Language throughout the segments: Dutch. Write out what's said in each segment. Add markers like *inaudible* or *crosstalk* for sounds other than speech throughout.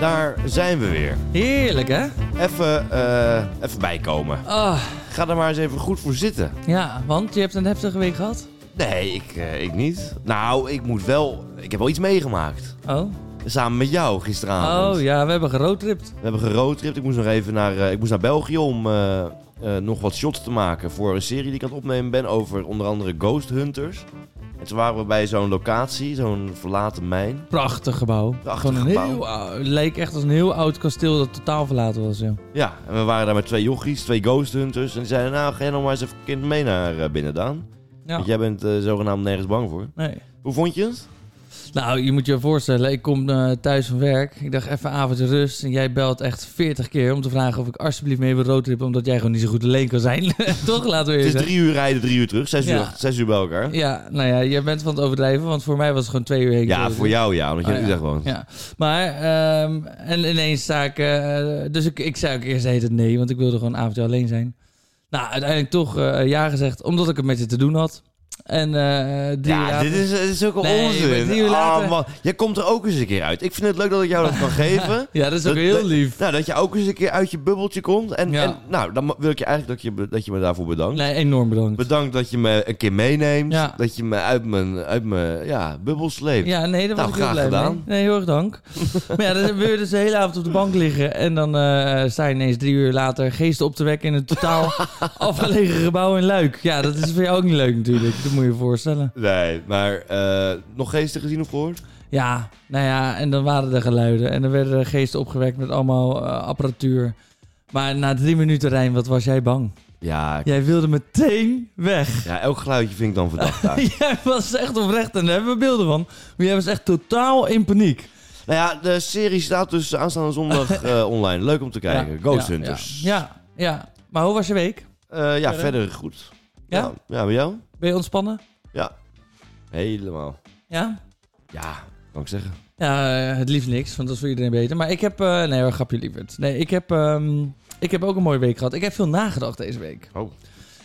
daar zijn we weer. Heerlijk, hè? Even, eh even bijkomen. Ah, Ga er maar eens even goed voor zitten. ja, want je hebt een heftige week gehad. Nee, ik, eh, ik niet. Nou, ik moet wel... Ik heb wel iets meegemaakt. Oh, Samen met jou gisteravond. oh ja, we hebben geroadtript. We hebben geroadtript. Ik moest nog even naar, eh, ik moest naar België om eh, eh, nog wat shots te maken voor een serie die ik aan het opnemen ben over onder andere Ghost Hunters. En toen waren we bij zo'n locatie, zo'n verlaten mijn. Prachtig gebouw. Prachtig Gewoon een gebouw. Heel, ou- het leek echt als een heel oud kasteel dat totaal verlaten was, ja. Ja, en we waren daar met twee jochies, twee Ghost Hunters. En die zeiden, nou ga jij nog maar eens even kind mee naar eh, binnen dan. ja. Want jij bent eh, zogenaamd nergens bang voor. Nee. Hoe vond je het? Nou, je moet je voorstellen, ik kom eh, thuis van werk. Ik dacht even avondje rust. En jij belt echt 40 keer om te vragen of ik alsjeblieft mee wil roadtrippen. Omdat jij gewoon niet zo goed alleen kan zijn. *laughs* Toch? Laten we Het eerst. is drie uur rijden, drie uur terug. Zes, Ja. uur, zes uur bij elkaar. Ja, nou ja, jij bent van het overdrijven. Want voor mij was het gewoon twee uur heen. Ja, roadtrip. voor jou ja, omdat je Oh, in ja. Utrecht woont. Ja, maar ehm, en ineens sta ik. eh, dus ik, ik zei ook eerst heet het nee, want ik wilde gewoon een avondje alleen zijn. Nou, uiteindelijk toch eh, ja gezegd, omdat ik het met je te doen had. En eh drie Ja, jaar- dit is, dit is ook een Nee, maar drie onzin. uur Ah, later- man. Jij komt er ook eens een keer uit. Ik vind het leuk dat ik jou dat *laughs* kan geven. Ja, dat is ook Dat- heel dat- lief. Nou, dat je ook eens een keer uit je bubbeltje komt. En, Ja. en nou, dan wil ik je eigenlijk dat je, dat je me daarvoor bedankt. Nee, enorm bedankt. Bedankt dat je me een keer meeneemt. Ja. Dat je me uit mijn, uit mijn ja, bubbel sleept. Ja, nee, dat was Nou, ik heel graag blij gedaan. mee. Nee, heel erg *laughs* dank. maar ja, dan hebben we dus de hele avond op de bank liggen. En dan eh sta je ineens drie uur later geesten op te wekken in een *laughs* totaal afgelegen gebouw in Luik. Ja, dat is voor jou ook niet leuk natuurlijk. Dat moet je je voorstellen. Nee, maar eh, nog geesten gezien of gehoord? Ja, nou ja, en dan waren er geluiden. En dan werden er geesten opgewekt met allemaal eh, apparatuur. Maar na drie minuten, Rijn, wat was jij bang? Ja, ik- Jij wilde meteen weg. ja, elk geluidje vind ik dan verdacht daar. *laughs* jij was echt oprecht, en daar hebben we beelden van. Maar jij was echt totaal in paniek. nou ja, de serie staat dus aanstaande *laughs* zondag eh, online. Leuk om te kijken. Ja, Ghost ja, Hunters. Ja, ja, ja. maar hoe was je week? Eh, ja, Verder? verder goed. Ja? Ja, ja bij jou? Ben je ontspannen? Helemaal. Ja? Ja, kan ik zeggen. Ja, eh, het liefst niks, want dat is voor iedereen beter. Maar ik heb... eh, nee hoor, grapje lieverd. Nee, ik heb, ehm, ik heb ook een mooie week gehad. Ik heb veel nagedacht deze week. Oh.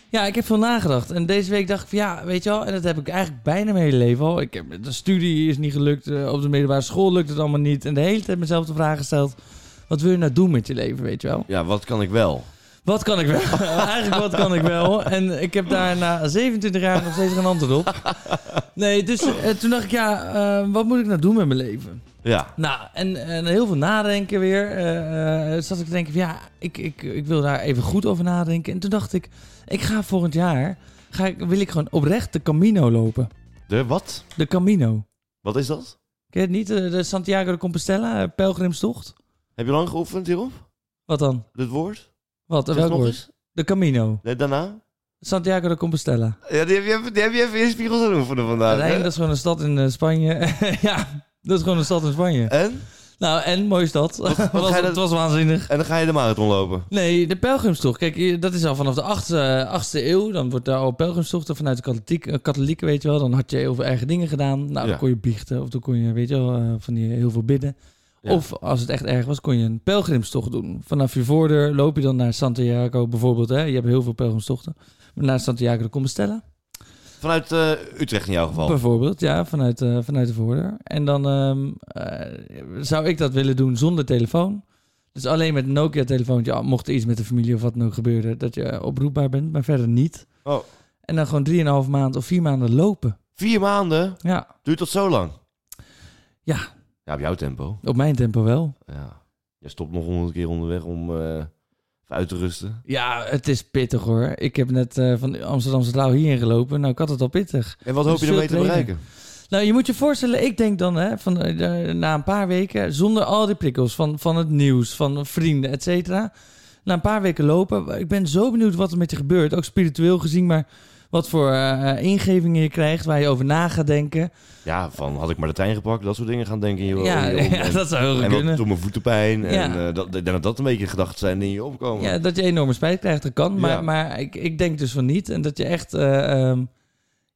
Ja, ik heb veel nagedacht. En deze week dacht ik van ja, weet je wel, en dat heb ik eigenlijk bijna mijn hele leven al. Ik heb, de studie is niet gelukt, eh, op de middelbare school lukt het allemaal niet. En de hele tijd mezelf de vraag gesteld, wat wil je nou doen met je leven, weet je wel? Ja, wat kan ik wel? Wat kan ik wel? *laughs* eigenlijk wat kan ik wel? En ik heb daar na 27 jaar nog steeds geen antwoord op. Nee, dus eh, toen dacht ik ja, eh, wat moet ik nou doen met mijn leven? Ja. Nou, en, en heel veel nadenken weer. eh eh, zat ik te denken van ja, ik, ik, ik wil daar even goed over nadenken. En toen dacht ik, ik ga volgend jaar, ga ik, wil ik gewoon oprecht de Camino lopen. De wat? De Camino. Wat is dat? Ken je het niet? Eh, De, de Santiago de Compostela, eh, pelgrimstocht. Heb je lang geoefend hierop? Wat dan? Dit woord? Wat? Zeg Welk nog woord? eens. De Camino. Nee, daarna? Santiago de Compostela. Ja, die heb je even, die heb je even in spiegels aan oefenen vandaag. Rijn, hè? dat is gewoon een stad in eh, Spanje. *laughs* ja, dat is gewoon een stad in Spanje. En? Nou, en mooie stad. ga was, je dat- *laughs* Het was waanzinnig. En dan ga je de marathon lopen. Nee, de pelgrimstocht. Kijk, eh, dat is al vanaf de 8e, eeuw. Dan wordt daar al pelgrimstochten vanuit de katholiek, eh, katholieken, weet je wel. Dan had je heel veel eigen dingen gedaan. Ja. Nou, dan kon je biechten. Of dan kon je, weet je wel, eh, van die heel veel bidden. Ja. Of als het echt erg was, kon je een pelgrimstocht doen. Vanaf je voordeur loop je dan naar Santiago bijvoorbeeld. Hè? Je hebt heel veel pelgrimstochten. Naar Santiago de Compostela. Vanuit eh, Utrecht in jouw geval. Bijvoorbeeld, ja, vanuit, eh, vanuit de voordeur. En dan ehm, eh, zou ik dat willen doen zonder telefoon. Dus alleen met een Nokia-telefoontje, al mocht er iets met de familie of wat dan ook gebeuren, dat je oproepbaar bent, maar verder niet. Oh. En dan gewoon 3,5 maand of vier maanden lopen. Vier maanden? Ja, Duurt dat zo lang? Ja. Ja, op jouw tempo. op mijn tempo wel. Ja. Je stopt nog honderd keer onderweg om eh, even uit te rusten. Ja, het is pittig hoor. Ik heb net eh, van Amsterdamse Trouw hierin gelopen. Nou, ik had het al pittig. En wat Dat hoop is je ermee te veel training. bereiken? Nou, je moet je voorstellen, ik denk dan hè, van, eh, eh, na een paar weken, zonder al die prikkels van, van het nieuws, van vrienden, et cetera. Na een paar weken lopen, ik ben zo benieuwd wat er met je gebeurt, ook spiritueel gezien, maar wat voor eh, eh, ingevingen je krijgt, waar je over na gaat denken. Ja, van had ik maar de trein gepakt, dat soort dingen gaan denken in je *laughs* ja, in je om. ja, En- dat zou heel goed En wat kunnen. toen mijn voeten pijn. En Ja. eh, dat, ik denk dat dat een beetje gedachten zijn die in je opkomen. Ja, dat je enorme spijt krijgt, dat kan. Maar, Ja. maar ik, ik denk dus van niet. En dat je echt eh, ehm,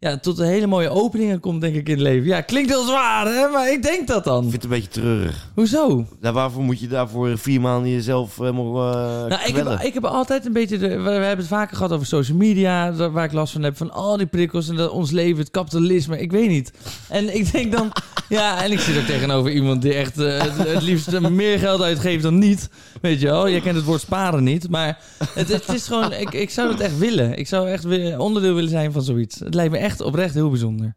ja, tot een hele mooie openingen komt, denk ik, in het leven. Ja, klinkt heel zwaar, hè? Maar ik denk dat Ik dan. vind het een beetje treurig. Hoezo? Nou, waarvoor moet je daarvoor vier maanden jezelf helemaal eh Nou, ik, kwellen? heb, ik heb altijd een beetje. De, we, we hebben het vaker gehad over social media. da- Waar ik last van heb. Van al die prikkels en dat, ons leven, het kapitalisme. Ik weet niet. En ik denk *laughs* dan. ja, en ik zit ook tegenover iemand die echt eh, het, het liefst eh, meer geld uitgeeft dan niet. Weet je wel. Jij kent het woord sparen niet. Maar het, het is gewoon. Ik, ik zou dat echt willen. Ik zou echt wi- onderdeel willen zijn van zoiets. Het lijkt me echt oprecht heel bijzonder.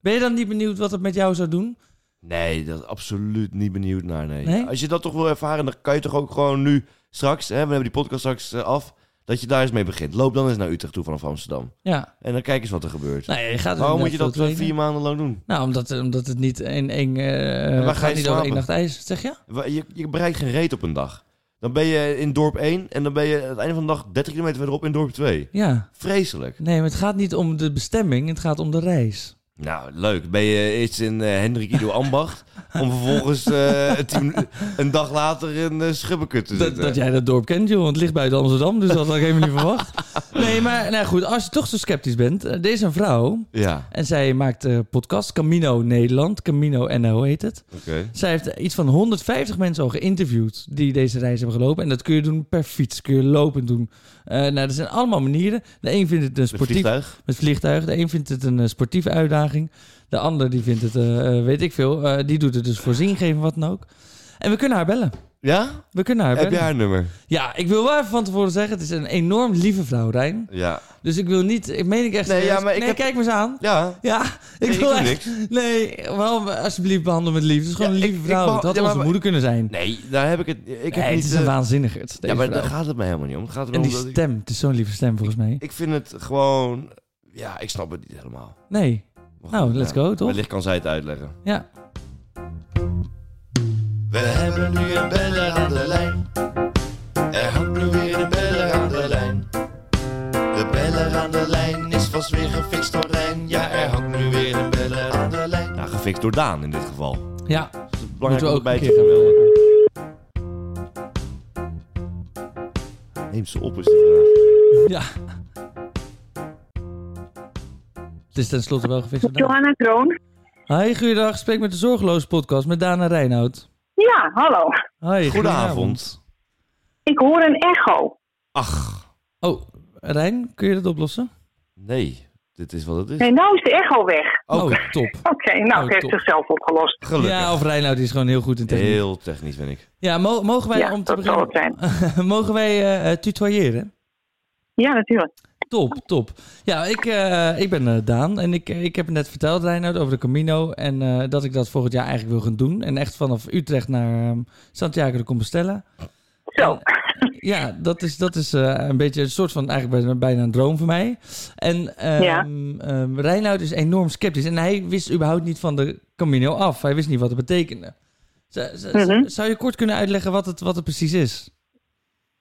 Ben je dan niet benieuwd wat het met jou zou doen? Nee, dat is absoluut niet benieuwd naar. Nee. Nee? Als je dat toch wil ervaren, dan kan je toch ook gewoon nu straks, hè, we hebben die podcast straks eh, af, dat je daar eens mee begint. Loop dan eens naar Utrecht toe vanaf Amsterdam. Ja. En dan kijk eens wat er gebeurt. Nou, ja, je gaat Waarom inderdaad moet je dat eh, veel trainen. vier maanden lang doen? Nou, omdat, omdat het niet één één. eh waar gaat ga je niet over één slapen? nacht ijs. Wat Zeg je? Wa- Je, je bereikt geen reet op een dag. Dan ben je in dorp 1 en dan ben je aan het einde van de dag 30 kilometer verderop in dorp 2. Ja. Vreselijk. Nee, maar het gaat niet om de bestemming, het gaat om de reis. Nou, leuk. Ben je eerst in eh, Hendrik *laughs* Ido Ambacht om vervolgens eh, tien- een dag later in eh, Schubbekut te Dat, zitten. dat jij dat dorp kent, joh, want het ligt buiten Amsterdam, dus dat had *laughs* ik helemaal niet verwacht. Nee, maar nou goed, als je toch zo sceptisch bent. eh, Er is een vrouw Ja, en zij maakt eh podcast Camino Nederland, Camino NL heet het. oké. Zij heeft iets van 150 mensen al geïnterviewd die deze reis hebben gelopen. En dat kun je doen per fiets, kun je lopend doen. Eh, nou, er zijn allemaal manieren. De een vindt het een Met sportief... vliegtuig. Met vliegtuig. De een vindt het een eh, sportieve uitdaging. De ander die vindt het, eh, eh, weet ik veel. eh, die doet het dus voor zingeven, wat dan ook. En we kunnen haar bellen. Ja? We kunnen haar Heb je bellen. haar nummer? Ja, ik wil wel even van tevoren zeggen, het is een enorm lieve vrouw, Rijn. Ja. Dus ik wil niet, ik meen ik echt. Nee, ja, serieus. maar ik nee heb- kijk me eens aan. Ja. Ja, ik Nee, wil ik doe echt. Nee, wel alsjeblieft behandel met liefde. Het is gewoon Ja, een ik- lieve ik vrouw. wou- het had ja, maar- onze moeder kunnen zijn. Nee, daar heb ik het... Ik heb Nee, niet, het is een eh, waanzinnigerd. Ja, deze maar daar vrouw. gaat het mij helemaal niet om. Het gaat En erom die dat ik- stem, het is zo'n lieve stem volgens mij. Ik vind het gewoon... Ja, ik snap het niet helemaal. Nee, Maar Nou, goed, let's ja. go, toch? Wellicht kan zij het uitleggen. ja. We hebben nu een beller aan de lijn. Er hangt nu weer een beller aan de lijn. De beller aan de lijn is vast weer gefixt door Rijn. Ja, er hangt nu weer een beller aan de lijn. Nou, gefixt door Daan in dit geval. Ja, Dat is belangrijk Moeten om we ook erbij een te keer gaan melden. Neem ze op, is de vraag. Ja. Het is tenslotte wel gefixt. gedaan. Johanna Kroon. Hi, goeiedag. Spreek met de Zorgeloos Podcast met Dana Reinoud. Ja, hallo. Hoi. Goedenavond. Ik hoor een echo. Ach, Oh, Rijn, kun je dat oplossen? nee. Dit is wat het is. Nee, nou is de echo weg. Oké, Oh, top. Oké, nou, Oh, het heeft top. zichzelf opgelost. gelukkig. Ja, of Reinoud die is gewoon heel goed in techniek. Heel technisch ben ik. Ja, mo- mogen wij Ja, om te dat zal het beginnen... *laughs* mogen wij eh, eh, tutoyeren? Ja, natuurlijk. Top, top. Ja, ik, eh, ik ben eh, Daan en ik, ik heb net verteld, Reinoud, over de Camino. En eh, dat ik dat volgend jaar eigenlijk wil gaan doen. En echt vanaf Utrecht naar ehm, Santiago de Compostela. Zo. Ja, dat is, dat is eh, een beetje een soort van eigenlijk bijna, bijna een droom voor mij. En ehm Ja. ehm, Reinoud is enorm sceptisch. En hij wist überhaupt niet van de Camino af. Hij wist niet wat het betekende. Z- z- z- Mhm. Zou je kort kunnen uitleggen wat het, wat het precies is?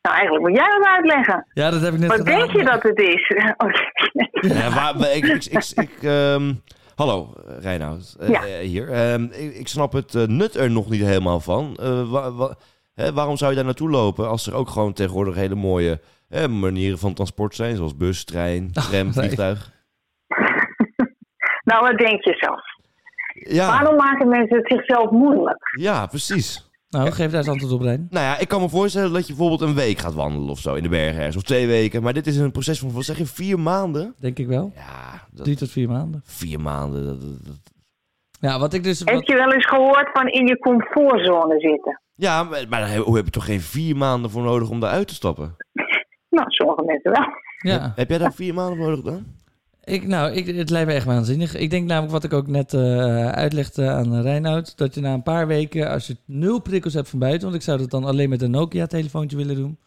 Nou, eigenlijk moet jij dat uitleggen. Ja, dat heb ik net Wat gedaan. denk je dat het is? *laughs* Oké. *laughs* Ja, waar, maar ik, ik, ik, ik, ehm, hallo, eh, Reinoud. Eh, Ja. eh, hier. Ehm, ik, ik snap het eh, nut er nog niet helemaal van. Eh, wa- wa- hè, waarom zou je daar naartoe lopen als er ook gewoon tegenwoordig hele mooie eh, manieren van transport zijn? Zoals bus, trein, tram, nee. vliegtuig. nou, wat denk je zelf? Ah. Ja, Waarom maken mensen het zichzelf moeilijk? ja, precies. Nou, geef daar eens antwoord op, Rein. Nou ja, ik kan me voorstellen dat je bijvoorbeeld een week gaat wandelen of zo in de bergen ergens. Of twee weken. Maar dit is een proces van, wat zeg je, vier maanden? Denk ik wel. Ja, dat, Drie tot vier maanden. vier maanden. Dat, dat- dat- Ja, wat ik dus... Heb Wat, je wel eens gehoord van in je comfortzone zitten? Ja, maar, maar daar heb- hoe heb je toch geen vier maanden voor nodig om daaruit te stappen? Nou, sommige mensen wel. ja. Heb jij daar vier maanden voor nodig dan? Ik, nou, ik, het lijkt me echt waanzinnig. Ik denk namelijk wat ik ook net eh, uitlegde aan Reinoud... dat je na een paar weken, als je nul prikkels hebt van buiten... want ik zou dat dan alleen met een Nokia-telefoontje willen doen...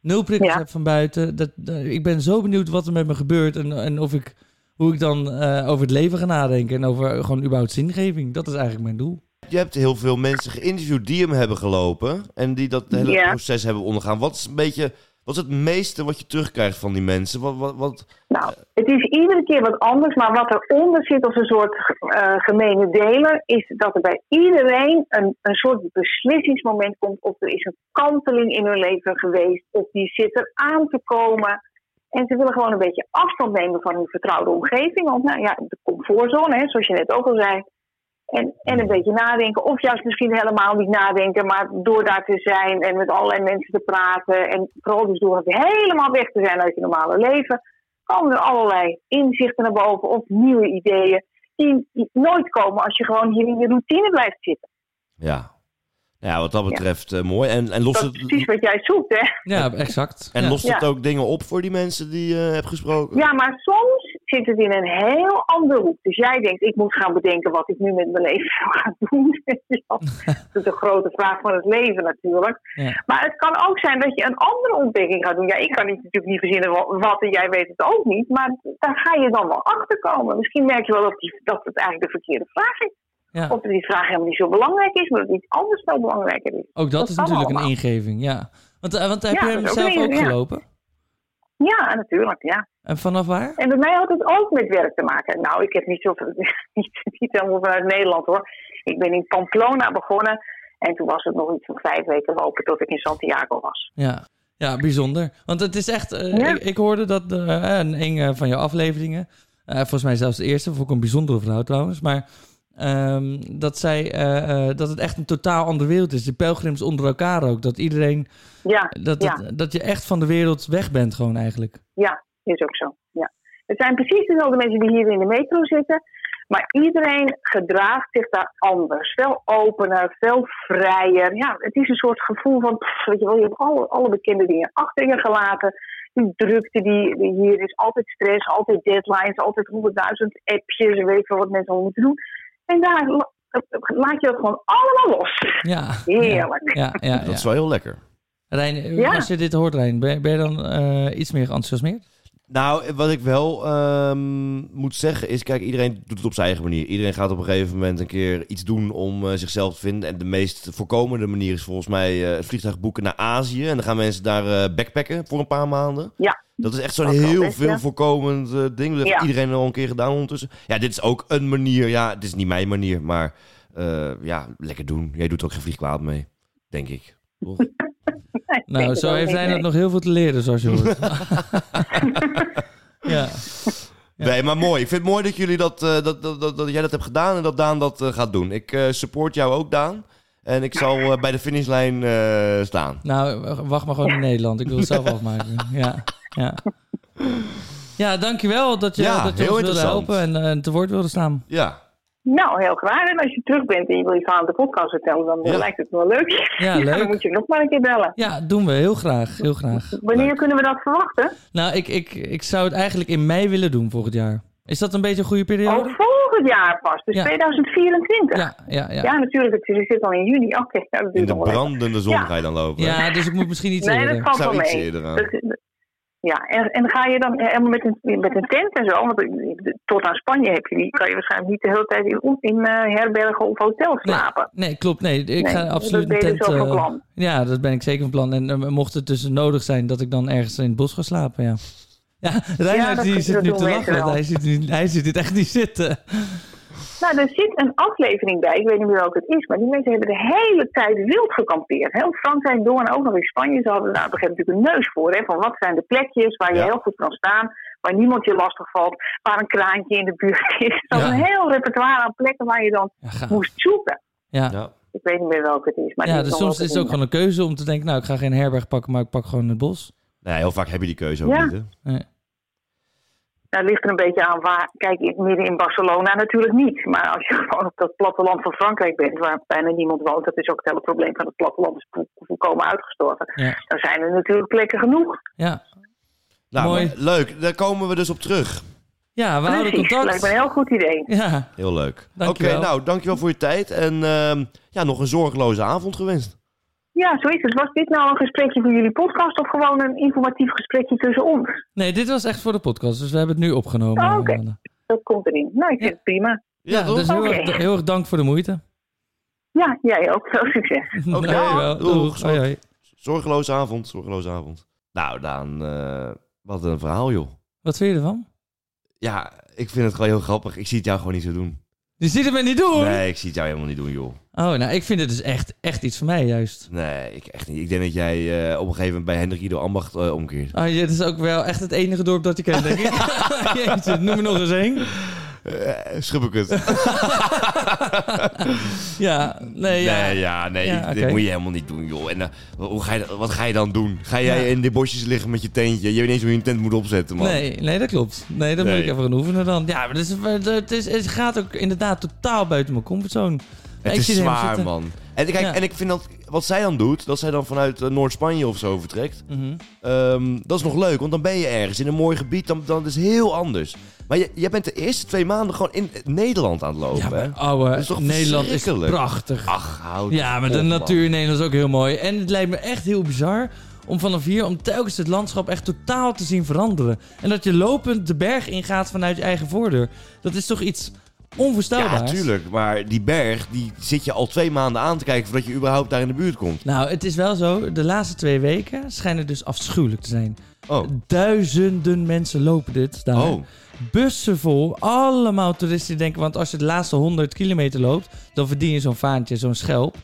nul prikkels Ja. hebt van buiten... Dat, dat- ik ben zo benieuwd wat er met me gebeurt... en, en of ik, hoe ik dan eh, over het leven ga nadenken... en over gewoon überhaupt zingeving. Dat is eigenlijk mijn doel. Je hebt heel veel mensen geïnterviewd die hem hebben gelopen en die dat hele Ja. proces hebben ondergaan. Wat is een beetje, wat is het meeste wat je terugkrijgt van die mensen? Wat, wat, wat... Nou, het is iedere keer wat anders, maar wat eronder zit als een soort eh, gemene deler, is dat er bij iedereen een, een soort beslissingsmoment komt of er is een kanteling in hun leven geweest, of die zit eraan te komen. En ze willen gewoon een beetje afstand nemen van hun vertrouwde omgeving. Want nou ja, de comfortzone, hè, zoals je net ook al zei. En, en een beetje nadenken. Of juist misschien helemaal niet nadenken. Maar door daar te zijn en met allerlei mensen te praten. En vooral dus door helemaal weg te zijn uit je normale leven. Komen er allerlei inzichten naar boven. Of nieuwe ideeën. Die, die nooit komen als je gewoon hier in je routine blijft zitten. Ja. Nou Ja, wat dat betreft eh, mooi. En, en lost Dat is precies het, wat jij zoekt, hè? Ja, exact. en ja. lost het Ja. ook dingen op voor die mensen die je hebt gesproken? Ja, maar soms zit het in een heel ander hoek. Dus jij denkt, ik moet gaan bedenken wat ik nu met mijn leven zou gaan doen. *laughs* weet je *laughs* wel. dat is de grote vraag van het leven natuurlijk. Ja. Maar het kan ook zijn dat je een andere ontdekking gaat doen. Ja, ik kan niet, natuurlijk niet verzinnen wa- wat en jij weet het ook niet. Maar daar ga je dan wel achter komen. Misschien merk je wel dat, die, dat het eigenlijk de verkeerde vraag is. Ja. Of dat die vraag helemaal niet zo belangrijk is, maar dat iets anders veel belangrijker is. Ook dat, dat is kan natuurlijk een allemaal. ingeving, ja. Want, eh, want heb Ja, jij dat hem is ook zelf een- ook ja. gelopen? Ja, natuurlijk, ja. En vanaf waar? En bij mij had het ook met werk te maken. Nou, ik heb niet, zo, *laughs* niet, niet helemaal vanuit Nederland hoor. Ik ben in Pamplona begonnen. En toen was het nog iets van vijf weken lopen tot ik in Santiago was. Ja. ja, bijzonder. Want het is echt... eh, Ja. ik, ik hoorde dat eh, een ene van jouw afleveringen... eh, volgens mij zelfs de eerste, vond ik een bijzondere vrouw trouwens. Maar ehm, dat zij... eh, eh, dat het echt een totaal andere wereld is. De pelgrims onder elkaar ook. Dat iedereen... Ja, Dat, Ja. dat, dat je echt van de wereld weg bent gewoon eigenlijk. ja, is ook zo. Ja. Het zijn precies dezelfde mensen die hier in de metro zitten. Maar iedereen gedraagt zich daar anders. Veel opener, veel vrijer. Ja, het is een soort gevoel van, pff, weet je wel, je hebt alle, alle bekende dingen achter je gelaten. Die drukte die, die hier is, altijd stress, altijd deadlines, altijd honderdduizend appjes en weet ik veel wat mensen allemaal moeten doen. En daar la- laat je dat gewoon allemaal los. Ja. Heerlijk. Ja, ja, ja. Dat is wel heel lekker. Rijn, eh, Ja. als je dit hoort, Rijn, ben, je- ben je dan eh, iets meer geenthousiasmeerd? Nou, wat ik wel ehm, moet zeggen is, kijk, iedereen doet het op zijn eigen manier. Iedereen gaat op een gegeven moment een keer iets doen om eh, zichzelf te vinden. En de meest voorkomende manier is volgens mij eh, het vliegtuig boeken naar Azië. En dan gaan mensen daar eh, backpacken voor een paar maanden. Ja. Dat is echt zo'n Dat kan heel best, veel ja. voorkomend eh, ding. Dat heeft Ja. iedereen al een keer gedaan ondertussen. Ja, dit is ook een manier. Ja, dit is niet mijn manier, maar eh, ja, lekker doen. Jij doet er ook geen vliegkwaad mee, denk ik. Toch? Ik denk Nou, het zo wel, heeft nee, Rijn nee. dat nog heel veel te leren, zoals je *laughs* hoort. ja. Ja. Nee, maar mooi. Ik vind het mooi dat, jullie dat, eh, dat, dat, dat, dat jij dat hebt gedaan en dat Daan dat eh, gaat doen. Ik eh, support jou ook, Daan. En ik zal eh, bij de finishlijn eh, staan. Nou, wacht maar gewoon in Nederland. Ik wil het *laughs* zelf afmaken. Ja, ja. Ja, dankjewel dat je, Ja, dat je heel ons wilde interessant. helpen en eh, te woord wilde staan. Ja, Nou, heel graag. En als je terug bent en je wil iets aan de podcast vertellen, dan Ja. lijkt het me wel leuk. *laughs* Ja, leuk. Dan moet je nog maar een keer bellen. Ja, doen we. Heel graag, heel graag. Wanneer kunnen we dat verwachten? Nou, ik, ik, ik zou het eigenlijk in mei willen doen volgend jaar. Is dat een beetje een goede Al periode? volgend jaar pas, dus Ja. 2024. Oh, Ja. Ja, ja, ja. natuurlijk, het zit al in juni. Oké, nou, dat in duurt de nog wel. even. brandende zon Ja. ga je dan lopen. Ja, dus ik moet misschien iets Nee, dat eerder. Ik valt wel zou iets mee. Dus- eerder aan. Dat- ja, en, en ga je dan helemaal met een, met een tent en zo? Want tot aan Spanje heb je die. Kan je waarschijnlijk niet de hele tijd in, in eh, herbergen of hotels slapen. Nee, klopt. Nee, ik Nee, ga absoluut dat een ben je tent... dus ook van eh, plan. ja, dat ben ik zeker van plan. En eh, mocht het dus nodig zijn dat ik dan ergens in het bos ga slapen, ja. Ja, Reinhard dat- die dat zit nu doen te we lachen, wel. want hij ziet, niet- hij ziet dit echt niet zitten. Nou, er zit een aflevering bij, ik weet niet meer welke het is, maar die mensen hebben de hele tijd wild gekampeerd. Heel Frankrijk door en ook nog in Spanje. Ze hadden daar op een gegeven moment natuurlijk een neus voor, hè, van wat zijn de plekjes waar je Ja. heel goed kan staan, waar niemand je lastig valt, waar een kraantje in de buurt is. Dat Ja. een heel repertoire aan plekken waar je dan Ja, gaaf. moest zoeken. Ja, Ja. Ik weet niet meer welke het is. Maar ja die dus dan soms wel is het ook te gewoon een keuze om te denken... nou, ik ga geen herberg pakken, maar ik pak gewoon het bos. Nee, heel vaak heb je die keuze ook Ja. niet. Hè? doen. Nou, het ligt er een beetje aan waar. Kijk, in- midden in Barcelona natuurlijk niet. Maar als je *laughs* gewoon op dat platteland van Frankrijk bent, waar bijna niemand woont, dat is ook het hele probleem van het platteland. Het is vo- volkomen uitgestorven. Ja, Dan zijn er natuurlijk plekken genoeg. ja. Nou, Mooi. leuk. Daar komen we dus op terug. ja we houden Precies, lijkt me een contact. heel goed idee. Ja, Heel leuk. Oké, Dankjewel. nou, dankjewel voor je tijd. En ehm, ja, nog een zorgeloze avond gewenst. Ja, zo is het. Was dit nou een gesprekje voor jullie podcast of gewoon een informatief gesprekje tussen ons? nee, dit was echt voor de podcast, dus we hebben het nu opgenomen. Oh, oké. Ja, Dat komt erin. Nou, ik vind het prima. Ja, toch? dus heel, Oké. erg- heel erg dank voor de moeite. Ja, jij ook. Veel succes. *laughs* Oké. Dankjewel. Doeg. Doeg. Hoi, hoi. Zorgeloze avond, zorgeloze avond. Nou, Daan, eh, wat een verhaal, joh. Wat vind je ervan? Ja, ik vind het gewoon heel grappig. Ik zie het jou gewoon niet zo doen. Die ziet het me niet doen. Nee, ik zie het jou helemaal niet doen, joh. Oh, nou, ik vind het dus echt, echt iets van mij juist. Nee, ik echt niet. Ik denk dat jij eh, op een gegeven moment bij Hendrik Ido Ambacht eh, omkeert. Ah, ja, het is ook wel echt het enige dorp dat je kent, *laughs* denk ik. *laughs* Jeetje, noem me nog eens één. Eh, schub ik het. Ja, nee, ja. *laughs* Nee, ja, nee, Ja, ik- dit oké. moet je helemaal niet doen, joh. En eh, hoe ga je, dat- wat ga je dan doen? Ga jij Ja. in de bosjes liggen met je tentje? Je weet niet eens hoe je een tent moet opzetten, man. Nee, nee, dat klopt. Nee, dat Nee. moet ik even gaan oefenen dan. Ja, maar dat is- maar dat- het, is, het gaat ook inderdaad totaal buiten mijn comfortzone. Het Ik is zie hem zwaar, zitten. man. En, kijk, Ja. en ik vind dat wat zij dan doet, dat zij dan vanuit eh, Noord-Spanje of zo vertrekt, Mhm. ehm, dat is nog leuk, want dan ben je ergens in een mooi gebied, dan, dan is het heel anders. Maar je, jij bent de eerste twee maanden gewoon in eh, Nederland aan het lopen, Ja, hè? maar ouwe, Dat is toch Nederland is verschrikkelijk? prachtig. Ach, houd Ja, maar de op, man. natuur in Nederland is ook heel mooi. En het lijkt me echt heel bizar om vanaf hier, om telkens het landschap echt totaal te zien veranderen. En dat je lopend de berg ingaat vanuit je eigen voordeur. Dat is toch iets onvoorstelbaars? Ja, tuurlijk. Maar die berg, die zit je al twee maanden aan te kijken voordat je überhaupt daar in de buurt komt. Nou, het is wel zo. De laatste twee weken schijnen dus afschuwelijk te zijn. Oh, Duizenden mensen lopen dit daar. oh. Bussen vol, allemaal toeristen die denken... want als je de laatste 100 kilometer loopt... dan verdien je zo'n vaantje, zo'n schelp.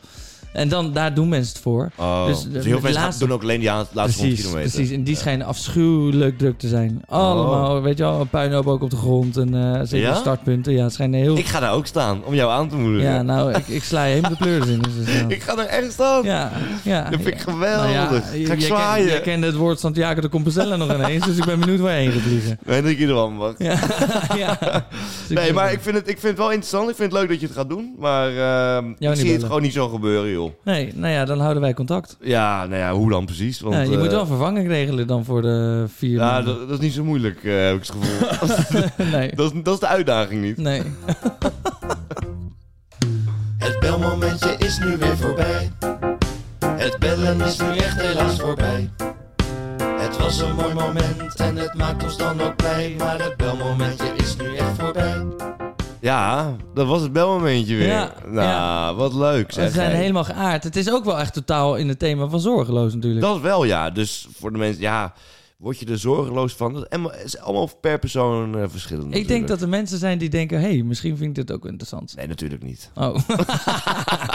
En dan, daar doen mensen het voor. oh. Dus Dus, de- heel de veel mensen laatste- doen ook alleen die aan- laatste 100 Precies, kilometer. Oh. precies. En die schijnen afschuwelijk druk te zijn. Allemaal, weet je wel, een puinhoop ook op de grond. En eh zeker Ja? startpunten. Ja, het schijnen heel... Ik ga daar ook staan om jou aan te moedigen. Ja, nou, ik, ik sla je helemaal de kleur in. Dus, dat is wel- *laughs* Ik ga daar echt staan. ja, ja. Dat vind ik ja. geweldig. Ga ik je- je zwaaien. ken- Je kende het woord Santiago de Compostela nog ineens, dus ik ben benieuwd waar je heen gaat vliegen. Weet ik ieder wel wat. Ja, *laughs* ja. Dus Nee, ik- maar ik vind, het, ik vind het wel interessant. Ik vind het leuk dat je het gaat doen. Maar ehm, ik niet zie het bellen. gewoon niet zo gebeuren, joh. Nee, nou ja, dan houden wij contact. Ja, nou ja, hoe dan precies? Want, Ja, je eh, moet wel vervanging regelen dan voor de vier ja, maanden. dat, dat is niet zo moeilijk, eh, heb ik het gevoel. *laughs* Nee, dat, is, dat is de uitdaging niet. *laughs* nee. Het belmomentje is nu weer voorbij. Het bellen is nu echt helaas voorbij. Het was een mooi moment en het maakt ons dan ook blij. Maar het belmomentje is nu echt voorbij. Ja, dat was het belmomentje weer. Ja, nou, ja. wat leuk zeg. Ze zijn hey. helemaal geaard. Het is ook wel echt totaal in het thema van zorgeloos natuurlijk. Dat wel, ja. Dus voor de mensen, ja, word je er zorgeloos van? Dat- En het is allemaal per persoon eh, verschillend ik denk natuurlijk. dat er mensen zijn die denken, hé, hey, misschien vind ik dit ook interessant. Nee, natuurlijk niet. *laughs* Oh, *laughs*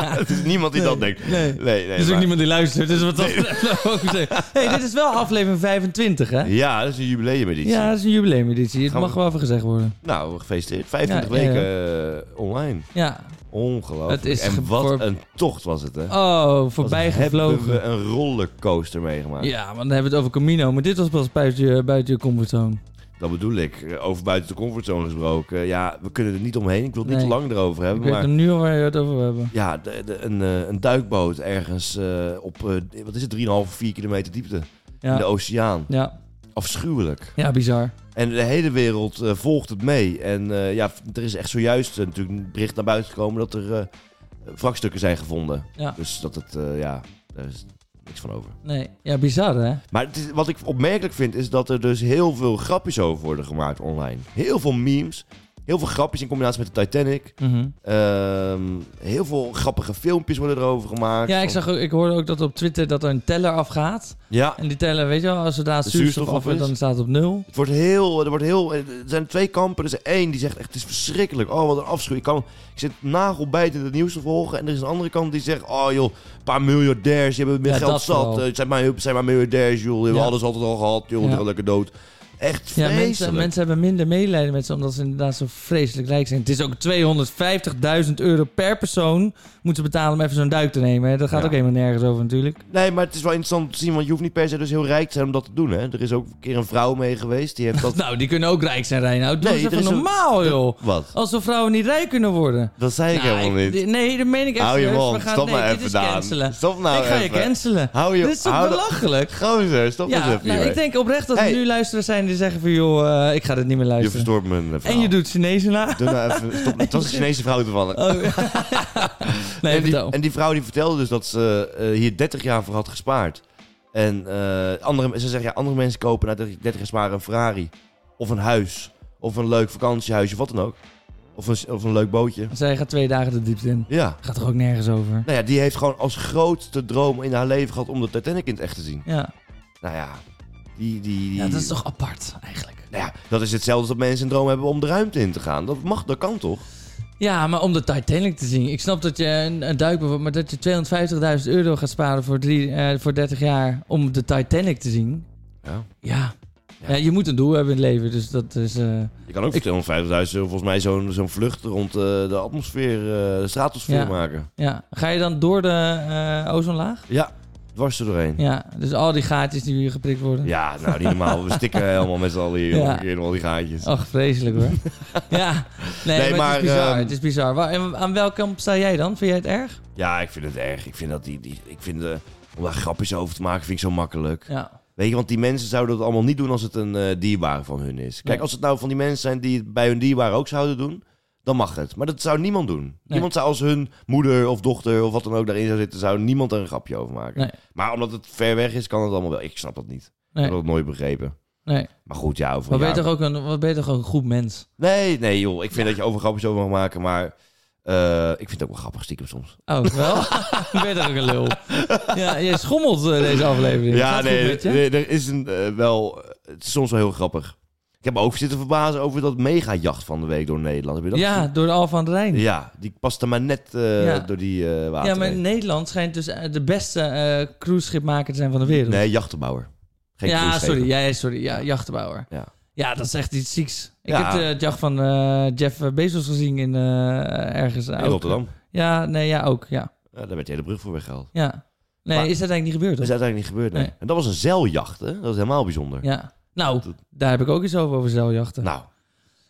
Het is niemand die dat denkt. nee. Nee, nee. er is ook maar- niemand die luistert, dus wat dat betreft ook zeggen. hey, dit is wel aflevering 25, hè? Ja, dat is een jubileumeditie. Ja, dat is een jubileumeditie. Het Gaan we- mag wel even gezegd worden. Nou, gefeliciteerd. 25 Ja, ja, ja. weken eh, online. Ja. Ongelooflijk. Het is en ge- wat voor- een tocht was het, hè? Oh, Wat voorbij hebben gevlogen. we een rollercoaster meegemaakt. Ja, want dan hebben we het over Camino. Maar dit was pas buiten je, buiten je comfortzone. Dat bedoel ik. Eh, Over buiten de comfortzone gesproken. Ja, we kunnen er niet omheen. Ik wil het niet Nee. te lang erover Ik hebben. weet Maar hem nu al waar je het over wil hebben. ja, de- de- een, eh, een duikboot ergens eh, op, eh, wat is het, 3,5, 4 kilometer diepte in de Ja, oceaan. ja. Afschuwelijk. ja bizar. En de hele wereld eh, volgt het mee. En eh, ja, er is echt zojuist eh, natuurlijk een bericht naar buiten gekomen dat er eh, wrakstukken zijn gevonden. Ja. Dus dat het, eh, ja, daar is niks van over. Nee, ja, bizar hè? Maar het is- wat ik opmerkelijk vind is dat er dus heel veel grapjes over worden gemaakt online. Heel veel memes, heel veel grapjes in combinatie met de Titanic. Mhm. Ehm, heel veel grappige filmpjes worden erover gemaakt. Ja, ik, zag ook, ik hoorde ook dat op Twitter dat er een teller afgaat. Ja, En die teller, weet je wel, als er daar De zuurstof zuurstof af af is, is. dan staat het op nul. het wordt heel, er wordt heel, er zijn twee kampen. Er is één die zegt echt, het is verschrikkelijk. Oh, wat een afschuw. Ik, kan, ik zit nagelbijtend het nieuws te volgen. En er is een andere kant die zegt, oh joh, een paar miljardairs, die hebben meer Ja, geld dat zat. vooral. Eh, Het zijn maar, het zijn maar miljardairs, joh. Die hebben Ja. alles altijd al gehad, joh. Die Ja. gaan lekker dood. Echt Ja, vreselijk. mensen, mensen hebben minder medelijden met ze, omdat ze inderdaad zo vreselijk rijk zijn. Het is ook 250.000 euro per persoon moeten ze betalen om even zo'n duik te nemen. Hè? Dat gaat Ja. ook helemaal nergens over natuurlijk. Nee, maar het is wel interessant om te zien, want je hoeft niet per se dus heel rijk te zijn om dat te doen. Hè? Er is ook een keer een vrouw mee geweest, die heeft *laughs* dat... Nou, die kunnen ook rijk zijn, Reinoud. Doe Nee, eens er even is een- normaal, Nou, joh. Wat? Als we vrouwen niet rijk kunnen worden. Dat zei ik Nou, helemaal ik- niet. Nee, dat meen ik echt Hou je serieus. We mond, gaan- stop nee, maar dit even, is Daan. cancelen. Stop nou ik ga je even. cancelen. Hou je- Dit is toch hou dat- belachelijk? Gozer, stop eens Ja, even nou, hier. ik denk oprecht dat Hey. er nu luisteraars zijn die zeggen van... joh, eh, ik ga dit niet meer Je luisteren. verstoort mijn eh, verhaal. en je doet Chinezen na. Doe nou even... Stop, het was een Chinese vrouw toevallig. *laughs* *laughs* Oh. nee, en, die, vertel. en die vrouw die vertelde dus dat ze eh, hier 30 jaar voor had gespaard. En eh, andere, ze zeggen, ja, andere mensen kopen na 30, 30 jaar sparen een Ferrari. Of een huis. Of een leuk vakantiehuisje, wat dan ook. Of een, of een leuk bootje. Zij gaat twee dagen de diepte in. Ja. Gaat er ook nergens over. Nou ja, die heeft gewoon als grootste droom in haar leven gehad om de Titanic in het echt te zien. Ja. Nou ja, die... die, die ja, dat is toch apart eigenlijk. Nou ja, dat is hetzelfde als dat mensen een droom hebben om de ruimte in te gaan. Dat mag, dat kan toch? Ja, maar om de Titanic te zien. Ik snap dat je een, een duik bijvoorbeeld, maar dat je 250.000 euro gaat sparen voor, drie, eh, voor 30 jaar om de Titanic te zien. Ja. Ja. Ja. Ja, je moet een doel hebben in het leven, dus dat is... eh, Je kan ook Ik- voor 250.000 euro volgens mij zo'n zo'n vlucht rond eh, de atmosfeer, eh, de stratosfeer Ja. maken. ja. Ga je dan door de eh, ozonlaag? Ja, dwars er doorheen. Ja. Ja, dus al die gaatjes die hier geprikt worden. nou niet normaal. We *laughs* stikken helemaal met z'n allen hier Ja. Oh. in al die gaatjes. Ach, vreselijk hoor. *laughs* ja, nee, Nee, maar, maar, het is bizar. ehm, Het is bizar. Waar- en aan welke kant sta jij dan? Vind jij het erg? Ja, ik vind het erg. Ik vind dat die, die ik vind eh, om daar grapjes over te maken, vind ik zo makkelijk. Ja. Weet je, want die mensen zouden dat allemaal niet doen als het een eh, dierbare van hun is. Kijk, Nee. als het nou van die mensen zijn die het bij hun dierbare ook zouden doen, dan mag het. Maar dat zou niemand doen. Niemand zou als hun moeder of dochter of wat dan ook daarin zou zitten, zou niemand daar een grapje over maken. Nee. Maar omdat het ver weg is, kan het allemaal wel. Ik snap dat niet. Nee. Ik heb dat nooit begrepen. Nee. Maar goed, ja, over Wat een ben je jaar- toch ook een, wat ben je toch ook een goed mens? Nee, nee, joh. Ik vind dat je over grapjes over mag maken, maar eh, ik vind het ook wel grappig stiekem soms. *laughs* Oh, wel? *laughs* ben je toch ook een lul? Ja, je schommelt eh, deze aflevering. ja, Gaat het nee, goed met je? nee, er is een eh, wel... Het is soms wel heel grappig. Ik heb me ook zitten verbazen over dat mega-jacht van de week door Nederland. Heb je dat Ja, door de Al van de Rijn. Ja, Ja, die paste maar net eh, Ja. door die eh water. maar heen. Nederland schijnt dus eh, de beste eh cruiseschipmaker te zijn van de wereld. Nee, jachtenbouwer. Geen ja, cruiseschepen. sorry. Ja, sorry. Ja, jachtenbouwer. Ja. Ja, dat is echt iets zieks. Ik Ja. heb eh, het jacht van eh, Jeff Bezos gezien in eh, ergens. eh, In ook. Rotterdam. Ja, nee, ja, ook. Ja. Ja, daar werd de hele brug voor weggehaald. ja. Nee, Maar- is dat eigenlijk niet gebeurd? Dat Hoor. is uiteindelijk niet gebeurd, nee. Nee. En dat was een zeiljacht, hè? Dat is helemaal bijzonder. Ja. Nou, Dat- daar heb ik ook iets over, over zeiljachten. Nou,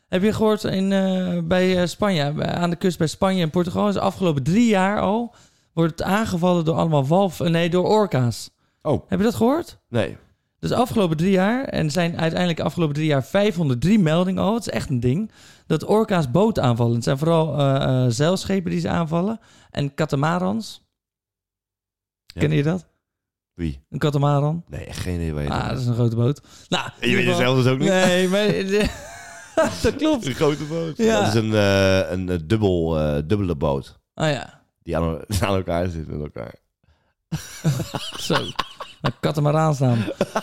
Heb je gehoord in, eh, bij eh, Spanje, bij- aan de kust bij Spanje en Portugal, is de afgelopen drie jaar al, wordt het aangevallen door allemaal walv... eh, Nee, door orka's. Oh. Heb je dat gehoord? nee. Dus de afgelopen drie jaar, en zijn uiteindelijk de afgelopen drie jaar 503 meldingen al, het is echt een ding, dat orka's boot aanvallen. Het zijn vooral eh, eh, zeilschepen die ze aanvallen en katamarans. Ja. Ken je dat? Wie? Een katamaran? Nee, echt geen idee. Weet Ah, dat is een grote boot. Nou, in je weet *laughs* ieder het zelf geval- dus ook niet. Nee, maar... *laughs* dat klopt. Een grote boot. Ja. Dat is een, eh, een eh, dubbel, eh, dubbele boot. Oh ja. Die aan, *laughs* aan elkaar zit met elkaar. Zo. Een katamaraan staan.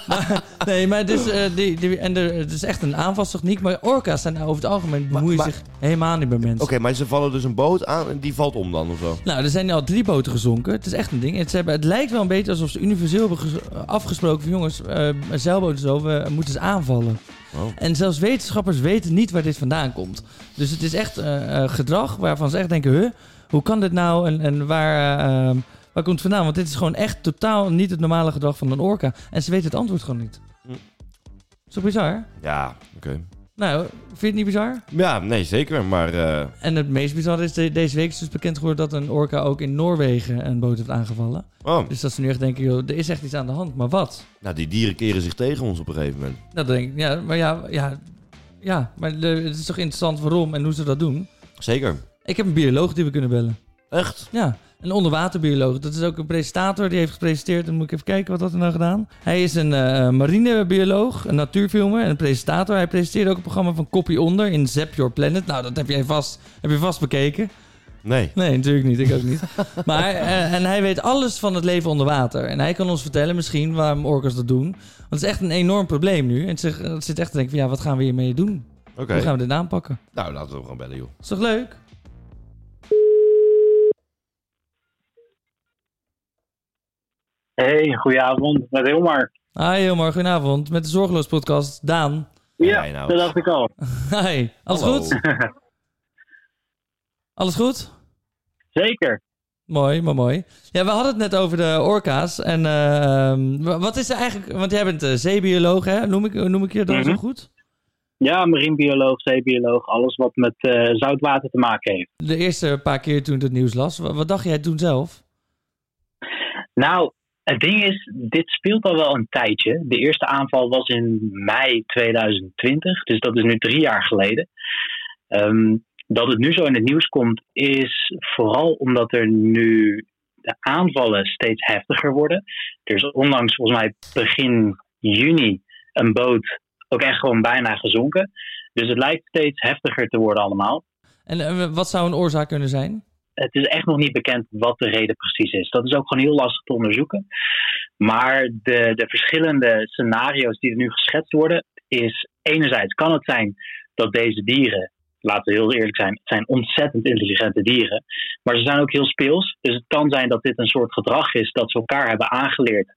Maar, nee, maar het is, eh, die, die, en er, het is echt een aanvalstechniek. Maar orka's zijn nou over het algemeen bemoeien maar- zich helemaal niet bij mensen. Oké, maar ze vallen dus een boot aan en die valt om dan of zo. Nou, er zijn al drie boten gezonken. Het is echt een ding. Het, ze hebben, het lijkt wel een beetje alsof ze universeel hebben ges- afgesproken van jongens, eh zeilboten zo, we moeten ze eh, aanvallen. Oh. En zelfs wetenschappers weten niet waar dit vandaan komt. Dus het is echt eh, eh, gedrag waarvan ze echt denken, huh, hoe kan dit nou en, en waar, eh, ehm, waar komt het vandaan? Want dit is gewoon echt totaal niet het normale gedrag van een orka. En ze weten het antwoord gewoon niet. Hm. Is toch bizar? hè? Ja, oké. Nou, vind je het niet bizar? Ja, nee, zeker. Maar eh, En het meest bizarre is, de- deze week is dus bekend geworden dat een orka ook in Noorwegen een boot heeft aangevallen. oh, Dus dat ze nu echt denken, joh, er is echt iets aan de hand, maar wat? nou, die dieren keren zich tegen ons op een gegeven moment. Nou, dan denk ik, ja, maar ja, ja, ja, maar de- het is toch interessant waarom en hoe ze dat doen? Zeker. Ik heb een bioloog die we kunnen bellen. Echt? Ja, een onderwaterbioloog. Dat is ook een presentator, die heeft gepresenteerd. Dan moet ik even kijken wat had hij nou gedaan. Hij is een eh, marinebioloog, een natuurfilmer en een presentator. Hij presenteerde ook een programma van Kopie Onder in Zap Your Planet. Nou, dat heb, jij vast, heb je vast bekeken. Nee. Nee, natuurlijk niet. Ik ook niet. *laughs* Maar, eh, en hij weet alles van het leven onder water. En hij kan ons vertellen misschien waarom orka's dat doen. Want het is echt een enorm probleem nu. En het, zit- het zit echt te denken van, ja, wat gaan we hiermee doen? Oké. Hoe gaan we dit aanpakken? Nou, laten we hem gewoon bellen, joh. Is toch leuk? Hey, goedenavond, met Hilmar. Hi, Hilmar. Goedenavond. Met de Zorgeloos Podcast, Daan. Ja, Hey, nou. dat dacht ik al. Hi. Alles Hallo. goed? Alles goed? Zeker. Mooi, maar mooi. Ja, we hadden het net over de orka's. En ehm, wa- wat is er eigenlijk... Want jij bent eh, zeebioloog, hè? Noem ik, noem ik je dan zo Mhm. goed? Ja, marinebioloog, zeebioloog, alles wat met eh, zoutwater te maken heeft. De eerste paar keer toen ik het nieuws las. wa- Wat dacht jij toen zelf? Nou, het ding is, dit speelt al wel een tijdje. De eerste aanval was in mei 2020, dus dat is nu drie jaar geleden. Ehm, dat het nu zo in het nieuws komt, is vooral omdat er nu de aanvallen steeds heftiger worden. Er is onlangs, volgens mij begin juni, een boot ook echt gewoon bijna gezonken. Dus het lijkt steeds heftiger te worden allemaal. En eh, wat zou een oorzaak kunnen zijn? het is echt nog niet bekend wat de reden precies is. Dat is ook gewoon heel lastig te onderzoeken. Maar de, de verschillende scenario's die er nu geschetst worden, is enerzijds kan het zijn dat deze dieren laten we heel eerlijk zijn, het zijn ontzettend intelligente dieren. Maar ze zijn ook heel speels. Dus het kan zijn dat dit een soort gedrag is dat ze elkaar hebben aangeleerd.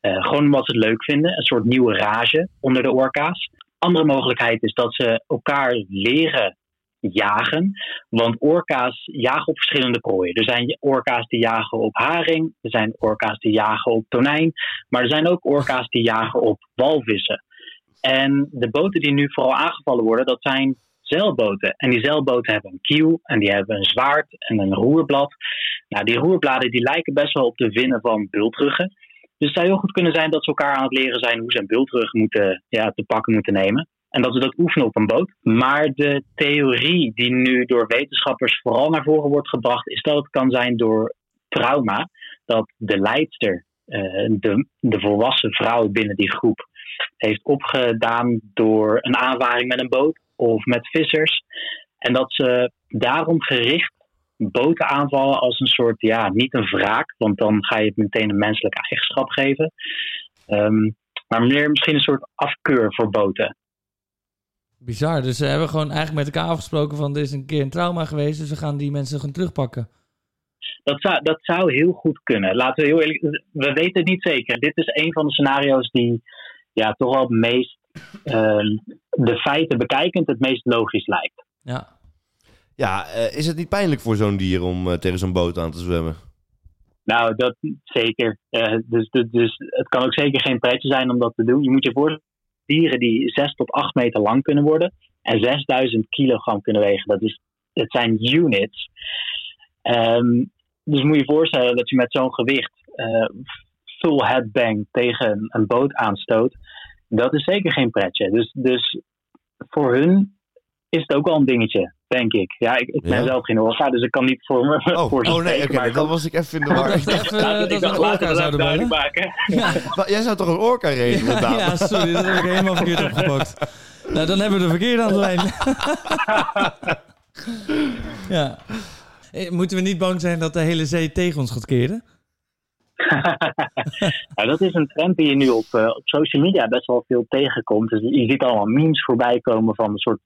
eh, gewoon omdat ze het leuk vinden. Een soort nieuwe rage onder de orka's. Andere mogelijkheid is dat ze elkaar leren jagen. Want orka's jagen op verschillende prooien. Er zijn orka's die jagen op haring. Er zijn orka's die jagen op tonijn. Maar er zijn ook orka's die jagen op walvissen. En de boten die nu vooral aangevallen worden, dat zijn zeilboten. En die zeilboten hebben een kiel en die hebben een zwaard en een roerblad. Nou, die roerbladen die lijken best wel op de winnen van bultruggen. Dus het zou heel goed kunnen zijn dat ze elkaar aan het leren zijn hoe ze een bultrug moeten, ja, te pakken moeten nemen. En dat ze dat oefenen op een boot. Maar de theorie die nu door wetenschappers vooral naar voren wordt gebracht, is dat het kan zijn door trauma. Dat de leidster, eh, de, de volwassen vrouw binnen die groep, heeft opgedaan door een aanvaring met een boot of met vissers. En dat ze daarom gericht boten aanvallen als een soort, ja, niet een wraak, want dan ga je het meteen een menselijke eigenschap geven. Ehm, maar meer misschien een soort afkeur voor boten. Bizar. Dus ze hebben gewoon eigenlijk met elkaar afgesproken van er is een keer een trauma geweest, dus we gaan die mensen gewoon terugpakken. Dat zou, dat zou heel goed kunnen. Laten we heel eerlijk we weten het niet zeker. Dit is een van de scenario's die ja, toch wel het meest ehm, de feiten bekijkend het meest logisch lijkt. Ja. Ja, eh, is het niet pijnlijk voor zo'n dier om eh, tegen zo'n boot aan te zwemmen? Nou, dat zeker. Eh, dus, dus, dus het kan ook zeker geen pretje zijn om dat te doen. Je moet je voorstellen, dieren die 6 tot 8 meter lang kunnen worden en 6000 kilogram kunnen wegen. Dat, is, dat zijn units. Ehm, dus moet je je voorstellen dat je met zo'n gewicht eh, full headbang tegen een, een boot aanstoot. Dat is zeker geen pretje. Dus, dus voor hun is het ook al een dingetje, denk ik. Ja, ik, ik ben Ja. zelf geen orga, dus ik kan niet voor *laughs* me Oh, voor ze oh nee, spreken, oké, maar ik dan kan- was ik even in de Ik *laughs* war. dacht even eh, Laten- dat ik we dacht, een laten orka we dat zouden duidelijk bellen. maken. Ja. Maar Jij zou toch een orka reden, Ja, madame? sorry, dat heb ik helemaal *laughs* verkeerd opgepakt. Nou, dan hebben we de verkeerde aan de lijn. ja. Eh, Moeten we niet bang zijn dat de hele zee tegen ons gaat keren? Nou, dat is een trend die je nu op, eh, op social media best wel veel tegenkomt. Dus je ziet allemaal memes voorbij komen van een soort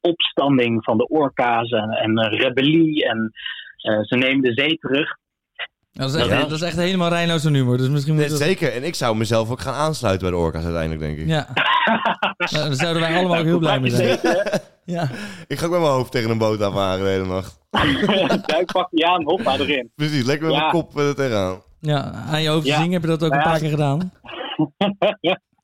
opstanding van de orka's en, en eh, rebellie. En eh, ze nemen de zee terug. Nou, dat, is echt, Ja. dat is echt helemaal Reino's humor, dus misschien Nee, moeten we... zeker. En ik zou mezelf ook gaan aansluiten bij de orka's uiteindelijk, denk ik. *laughs* Ja. Nou, daar zouden wij allemaal ook heel blij mee zijn. Ja. Ik ga ook met mijn hoofd tegen een boot aanvaren de hele nacht. Duik, pak die aan, hoppa erin. Precies, lekker met Ja. mijn kop eh, er tegenaan. ja, aan je hoofd Ja. zingen heb je dat ook een Ja. paar keer *laughs* gedaan.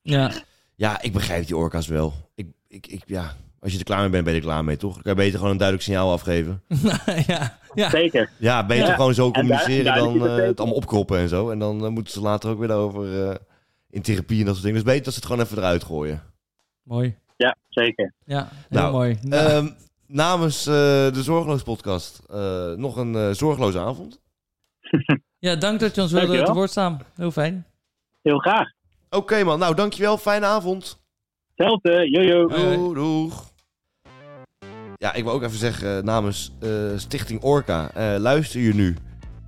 Ja, *laughs* Ja, ik begrijp die orka's wel. Ik, ik, ik, ja. Als je er klaar mee bent, ben je er klaar mee, toch? Ik kan je beter gewoon een duidelijk signaal afgeven. ja, ja. Zeker. Ja, beter Ja. gewoon zo communiceren duidelijk dan is het eh, beter. het allemaal opkroppen en zo. En dan eh, moeten ze later ook weer over eh, in therapie en dat soort dingen. Dus beter dat ze het gewoon even eruit gooien. Mooi. Ja, zeker. Ja, heel Nou, mooi. Nou, Ehm, namens eh, de Zorgeloos Podcast eh, nog een eh, zorgeloze avond. ja, dank dat je ons wilde dankjewel. te woord staan. Heel fijn. Heel graag. Oké man, nou dankjewel. Fijne avond. Hetzelfde, jojo. Hoi, hoi. Doeg, doeg. Ja, ik wil ook even zeggen eh, namens eh, Stichting Orca. eh, luister je nu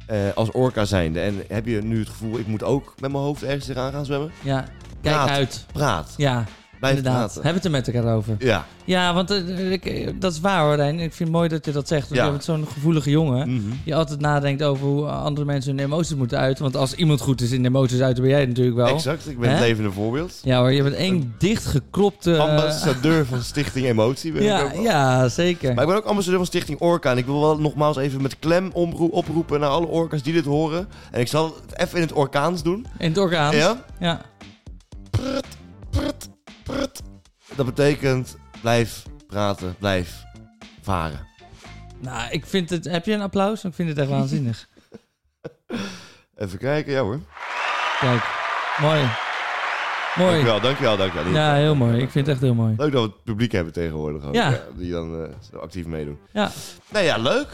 eh, als Orca zijnde. En heb je nu het gevoel, ik moet ook met mijn hoofd ergens tegenaan gaan zwemmen? Ja, kijk Praat. uit. Praat. Ja, Blijf inderdaad. praten. Hebben we het er met elkaar over. Ja. Ja, want eh, ik, eh, dat is waar hoor, Rijn. Ik vind het mooi dat je dat zegt. Want Ja. je bent zo'n gevoelige jongen. Mhm. Die altijd nadenkt over hoe andere mensen hun emoties moeten uiten. Want als iemand goed is in de emoties uiten, ben jij het natuurlijk wel. Exact, ik ben Hè? het levende voorbeeld. Ja hoor, je bent één dichtgeklopte... eh, Ambassadeur van Stichting Emotie ben ik ja, ook wel. ja, zeker. eh, Maar ik ben ook ambassadeur van Stichting Orca. En ik wil wel nogmaals even met klem omroe- oproepen naar alle orka's die dit horen. En ik zal het even in het orkaans doen. In het orgaan. Ja. Ja? Dat betekent, blijf praten, blijf varen. Nou, ik vind het... Heb je een applaus? Ik vind het echt waanzinnig. Even kijken, ja hoor. Kijk, mooi. Mooi. Dankjewel, dankjewel, dankjewel. Ja, heel mooi. Ik vind het echt heel mooi. Leuk dat we het publiek hebben tegenwoordig ook. Ja. ja, die dan eh, zo actief meedoen. Ja. Nou ja, leuk.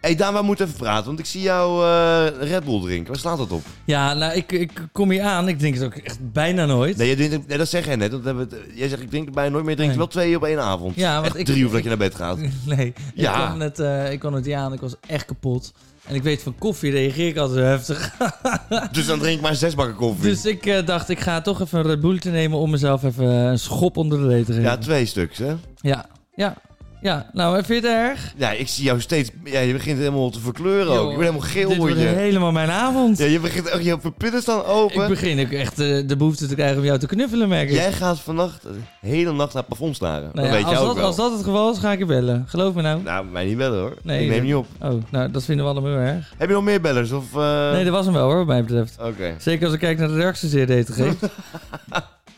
Hé hey, Daan, we moeten even praten, want ik zie jou eh, Red Bull drinken. Waar slaat dat op? Ja, nou, ik, ik kom hier aan. Ik denk het ook echt bijna nooit. Nee, jij drinkt- nee, dat zeg jij net. Dat hebben we het- eh, jij zegt, ik drink er bijna nooit meer. Je drinkt Nee. wel twee op één avond. Ja, want Echt ik- drie uur ik- voordat je naar bed *laughs* gaat. *laughs* Nee, Ja. ik, kwam net, eh, ik kwam het niet aan. Ik was echt kapot. En ik weet, van koffie reageer ik altijd heftig. *laughs* Dus dan drink ik maar zes bakken koffie. Dus ik eh, dacht, ik ga toch even een eh, Red Bull te nemen om mezelf even een schop onder de reet te geven. Ja, Ja, twee stuks, hè? ja. ja. Ja, nou, vind je het erg? Ja, ik zie jou steeds... Ja, je begint helemaal te verkleuren ook. Joh, Je bent helemaal geel, Dit word wordt je. helemaal mijn avond. Ja, je begint echt... Je pupillen staan open. ik begin ook echt eh, de behoefte te krijgen om jou te knuffelen, merk ik. Jij gaat vannacht de hele nacht naar het plafond staren. Nou ja, dat weet als, je ook dat, wel. als dat het geval is, ga ik je bellen. Geloof me nou. Nou, mij niet bellen hoor. Nee, ik neem dat- niet op. Oh, nou, dat vinden we allemaal heel erg. Heb je nog meer bellers? Of, eh, Nee, dat was hem wel hoor, wat mij betreft. Oké. Zeker als ik kijk naar de reacties die *laughs* hij geeft.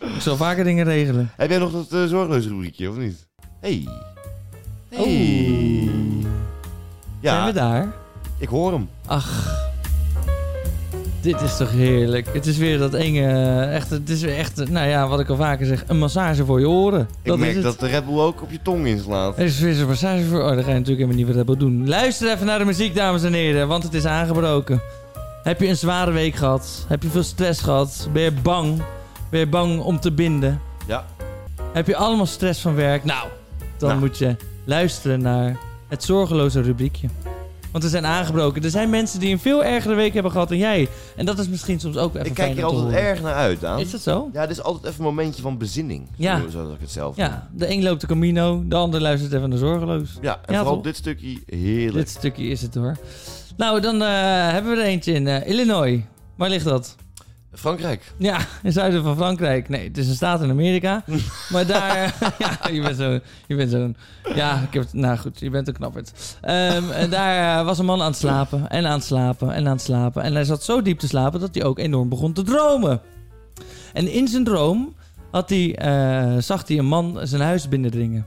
ik zal vaker dingen regelen. Heb jij nog dat eh, zorgloos rubriekje, of niet? Hey. Hey. Oh. Zijn Ja, we daar? ik hoor hem. Ach, dit is toch heerlijk. Het is weer dat enge, eh, echt, het is weer echt, eh, nou ja, wat ik al vaker zeg, een massage voor je oren. Ik merk is het. dat de Red Bull ook op je tong inslaat. Er is weer een massage voor... Oh, dan ga je natuurlijk helemaal niet wat hebben doen. Luister even naar de muziek, dames en heren, want het is aangebroken. Heb je een zware week gehad? Heb je veel stress gehad? Ben je bang? Ben je bang om te binden? Ja. Heb je allemaal stress van werk? Nou, dan Nou. moet je luisteren naar het zorgeloze rubriekje. Want we zijn aangebroken. Er zijn mensen die een veel ergere week hebben gehad dan jij. En dat is misschien soms ook even Ik fijn kijk hier om te altijd horen. erg naar uit, Daan. Is dat zo? Ja, dit is altijd even een momentje van bezinning. Ja. Zo, zo dat ik het zelf noem. Ja, de een loopt de Camino, de ander luistert even naar zorgeloos. Ja, en Ja, vooral toch? dit stukje heerlijk. Dit stukje is het hoor. Nou, dan eh, hebben we er eentje in eh, Illinois. Waar ligt dat? Frankrijk. Ja, in het zuiden van Frankrijk. Nee, het is een staat in Amerika. maar daar... *laughs* ja, je bent zo'n... Je bent zo'n... Ja, ik heb... het- Nou goed, je bent een knapperd. Ehm, en daar eh, was een man aan het slapen. En aan het slapen. En aan het slapen. En hij zat zo diep te slapen dat hij ook enorm begon te dromen. En in zijn droom had hij, eh, zag hij een man zijn huis binnendringen.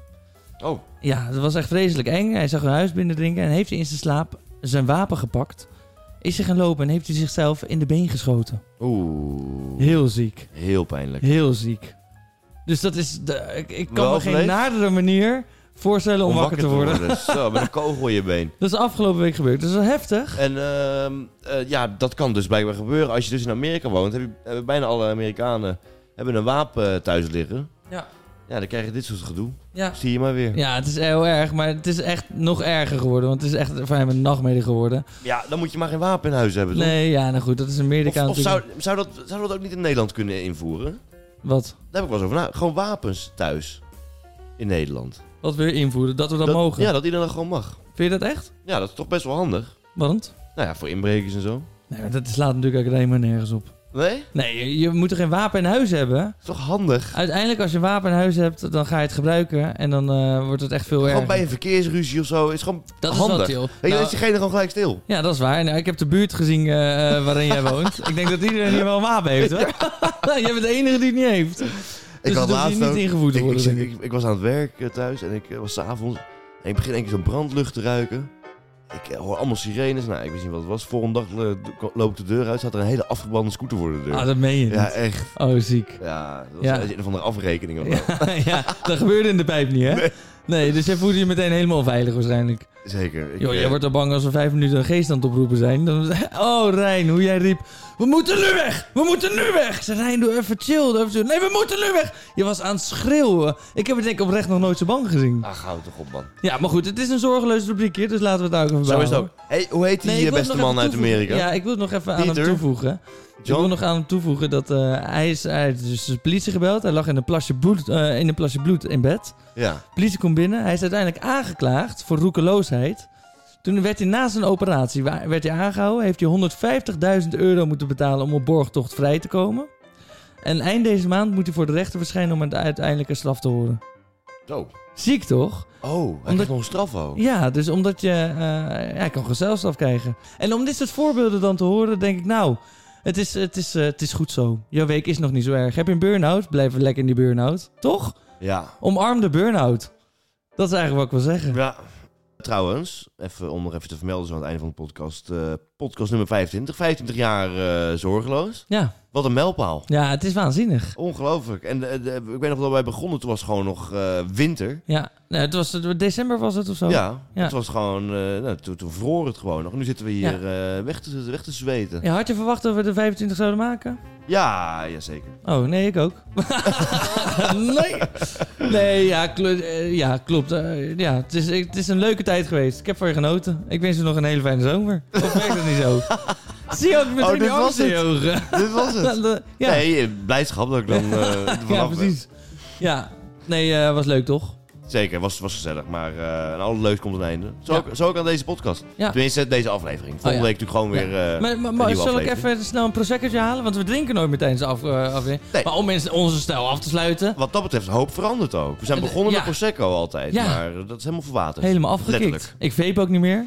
Oh, Ja, dat was echt vreselijk eng. Hij zag een huis binnendrinken en heeft hij in zijn slaap zijn wapen gepakt. Is hij gaan lopen en heeft hij zichzelf in de been geschoten. oeh. Heel ziek. Heel pijnlijk. Heel ziek. Dus dat is... De, ik, ik kan Wel me geen overleefd? nadere manier voorstellen om, wakker te worden. Zo, met een kogel in je been. Dat is afgelopen week gebeurd. Dat is wel heftig. En ehm, eh, ja, dat kan dus blijkbaar gebeuren. Als je dus in Amerika woont, heb je, hebben bijna alle Amerikanen hebben een wapen eh, thuis liggen. Ja. Ja, dan krijg je dit soort gedoe. Ja. Zie je maar weer. Ja, Ja, het is heel erg, maar het is echt nog erger geworden. Want het is echt voor hem een nachtmerrie geworden. dan moet je maar geen wapen in huis hebben, toch? Nee, ja, nou goed, dat is in Amerika Of, of natuurlijk. zou, zou, dat, zou dat ook niet in Nederland kunnen invoeren? Wat? Daar heb ik wel eens over na. Gewoon wapens thuis. In Nederland. Dat, Wat weer invoeren, dat we dat, mogen. Ja, dat iedereen dat gewoon mag. Vind je dat echt? Ja, dat is toch best wel handig. Want? Nou ja, voor inbrekers en zo. Nee, maar dat slaat natuurlijk ook helemaal nergens op. Nee? Nee, je, je moet er geen wapen in huis hebben. Dat is toch handig? Uiteindelijk, als je een wapen in huis hebt, dan ga je het gebruiken. En dan eh, wordt het echt veel erger. Gewoon bij een verkeersruzie of zo. Is gewoon Dat is wel handig. chill. Weet je, dan Nou- is diegene gewoon gelijk stil. Ja, dat is waar. Nou, ik heb de buurt gezien eh, eh, waarin jij woont. Ik denk dat iedereen hier wel een wapen heeft, hoor. *laughs* jij bent de enige die het niet heeft. had Dus het hoeft hier laatst niet ook- ingevoerd te ik- worden, Ik, denk ik, ik was aan het werk eh, thuis en ik eh, was s'avonds. En ik begin één keer zo'n brandlucht te ruiken. Ik eh, hoor allemaal sirenes. Nou, ik wist niet wat het was. Volgende dag eh, d- loop ik de deur uit. Zat er een hele afgebrande scooter voor de deur. Ah, dat meen je niet. ja, eh. echt. Oh, ziek. *laughs* Ja, dat was Ja. een van de afrekeningen. Ja, ja, dat gebeurde in de pijp niet, hè? Nee, dus jij voelde je meteen helemaal veilig waarschijnlijk. Zeker. Ik, Joh, jij eh, wordt al bang als we vijf minuten een geest aan het oproepen zijn. Dan, *laughs* oh, Rijn, hoe jij riep. We moeten nu weg! We moeten nu weg! Ik zei, Rijn, doe even chill. Doe even chill. Nee, we moeten nu weg! Je was aan het schreeuwen. Ik heb het denk ik oprecht nog nooit zo bang gezien. Ah, houd toch op, man. Ja, maar goed, het is een zorgeloos rubriekje, dus laten we het daar ook even bij Zo is het houden. ook. Hey, hoe heet die ik wil eh, het beste nog man even uit toevoegen. Amerika? Ja, ik wil het nog even aan Peter? hem toevoegen. Ik wil nog aan hem toevoegen dat eh, hij, is, hij is dus de politie gebeld. Hij lag in een plasje bloed, eh, in, een plasje bloed in bed. Ja. De politie komt binnen. Hij is uiteindelijk aangeklaagd voor roekeloosheid. Toen werd hij na zijn operatie wa- werd hij aangehouden. Heeft hij 150.000 euro moeten betalen om op borgtocht vrij te komen. En eind deze maand moet hij voor de rechter verschijnen om een uiteindelijke straf te horen. Zo. Ziek toch? Oh, hij Omdat- heeft nog een straf ook. Ja, dus omdat je... eh hij kan gewoon zelfstraf krijgen. En om dit soort voorbeelden dan te horen, denk ik... Nou, het is, het is, eh, het is goed zo. Jouw week is nog niet zo erg. Heb je een burn-out? Blijf lekker in die burn-out. Toch? Ja. Omarm de burn-out. Dat is eigenlijk wat ik wil zeggen. Ja. Trouwens, even om nog even te vermelden zo aan het einde van de podcast. eh, podcast nummer 25. 25 jaar eh, zorgeloos. Ja, Wat een mijlpaal. ja het is waanzinnig. Ongelooflijk. En eh, de- ik weet nog dat wij begonnen, toen was het gewoon nog eh, winter. Ja, nou, het was, december was het of zo? Ja, Oh. Ja. het was gewoon, eh, nou, toen, toen vroor het gewoon nog. Nu zitten we hier eh, weg, te, weg te zweten. Ja, had je verwacht dat we de 25 zouden maken? Ja, ja zeker. Oh, nee, ik *laughs* ook. nee. Nee, ja, kl- eh, ja klopt. Eh, ja, het, is, het is een leuke tijd geweest. Ik heb voor je genoten. Ik wens je nog een hele fijne zomer. Of werkt dat *laughs* niet zo? Zie je ook meteen Oh, dit die was angst in je het. *laughs* ogen? Dit was het. *laughs* ja, Nee, eh, blijdschap dat ik dan eh, er *laughs* ja, vanaf ben. precies. Ja, nee, eh was leuk toch? Zeker, was, was gezellig. Maar eh en alles leuks komt een einde. Zo, Ja. ook, zo ook aan deze podcast. Ja. Tenminste, deze aflevering. Oh, Volgende ja. week natuurlijk gewoon weer eh, maar maar, een maar nieuwe zal ik aflevering. even snel een prosecco'tje halen? Want we drinken nooit meteen de af, eh, aflevering. Nee. Maar om mensen onze stijl af te sluiten, Wat dat betreft, een hoop verandert ook. We zijn Eh, begonnen ja. met Prosecco altijd. Ja. Maar dat is helemaal verwaterd. helemaal afgekikt. Letterlijk. Ik vape ook niet meer.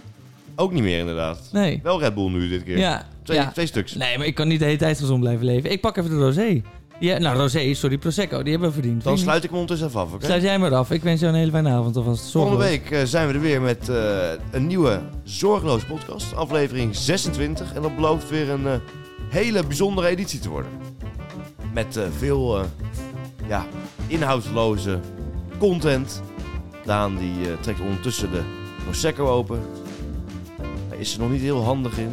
Ook niet meer inderdaad. Nee. Wel Red Bull nu dit keer. Ja. Twee, ja. twee stuks. Nee, maar ik kan niet de hele tijd gezond blijven leven. Ik pak even de rosé. Ja, nou, rosé, sorry, prosecco. Die hebben we verdiend. Dan sluit ik me ondertussen even af, oké? Sluit jij maar af. Ik wens jou een hele fijne avond alvast. Zorgeloos. Volgende week eh, zijn we er weer met eh, een nieuwe Zorgeloos podcast. Aflevering 26. En dat belooft weer een eh, hele bijzondere editie te worden. Met eh, veel eh, ja, inhoudsloze content. Daan die eh, trekt ondertussen de Prosecco open. Hij is er nog niet heel handig in.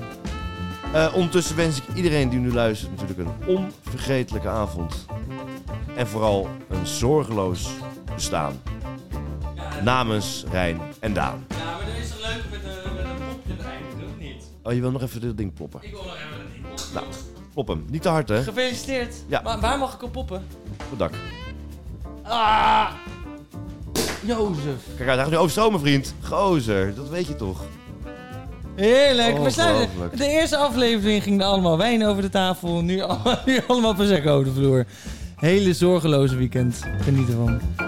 Eh, ondertussen wens ik iedereen die nu luistert natuurlijk een onvergetelijke avond. En vooral een zorgeloos bestaan namens Rijn en Daan. Ja, maar dat is het leuk met een, met een popje eindelijk, of niet? Oh, je wil nog even dit ding ploppen. Ik wil nog even een ding Nou, plop hem. Niet te hard, hè? Op Gefeliciteerd. Ja. Maar waar mag ik op poppen? het dak. Ah! Jozef. Kijk uit, hij gaat nu overstromen, vriend. Gozer, dat weet je toch? Heerlijk. We sluiten. Ongelooflijk. De eerste aflevering ging er allemaal wijn over de *laughs* tafel. Nu, al- nu allemaal Prosecco over de vloer. Hele zorgeloze weekend. Geniet ervan.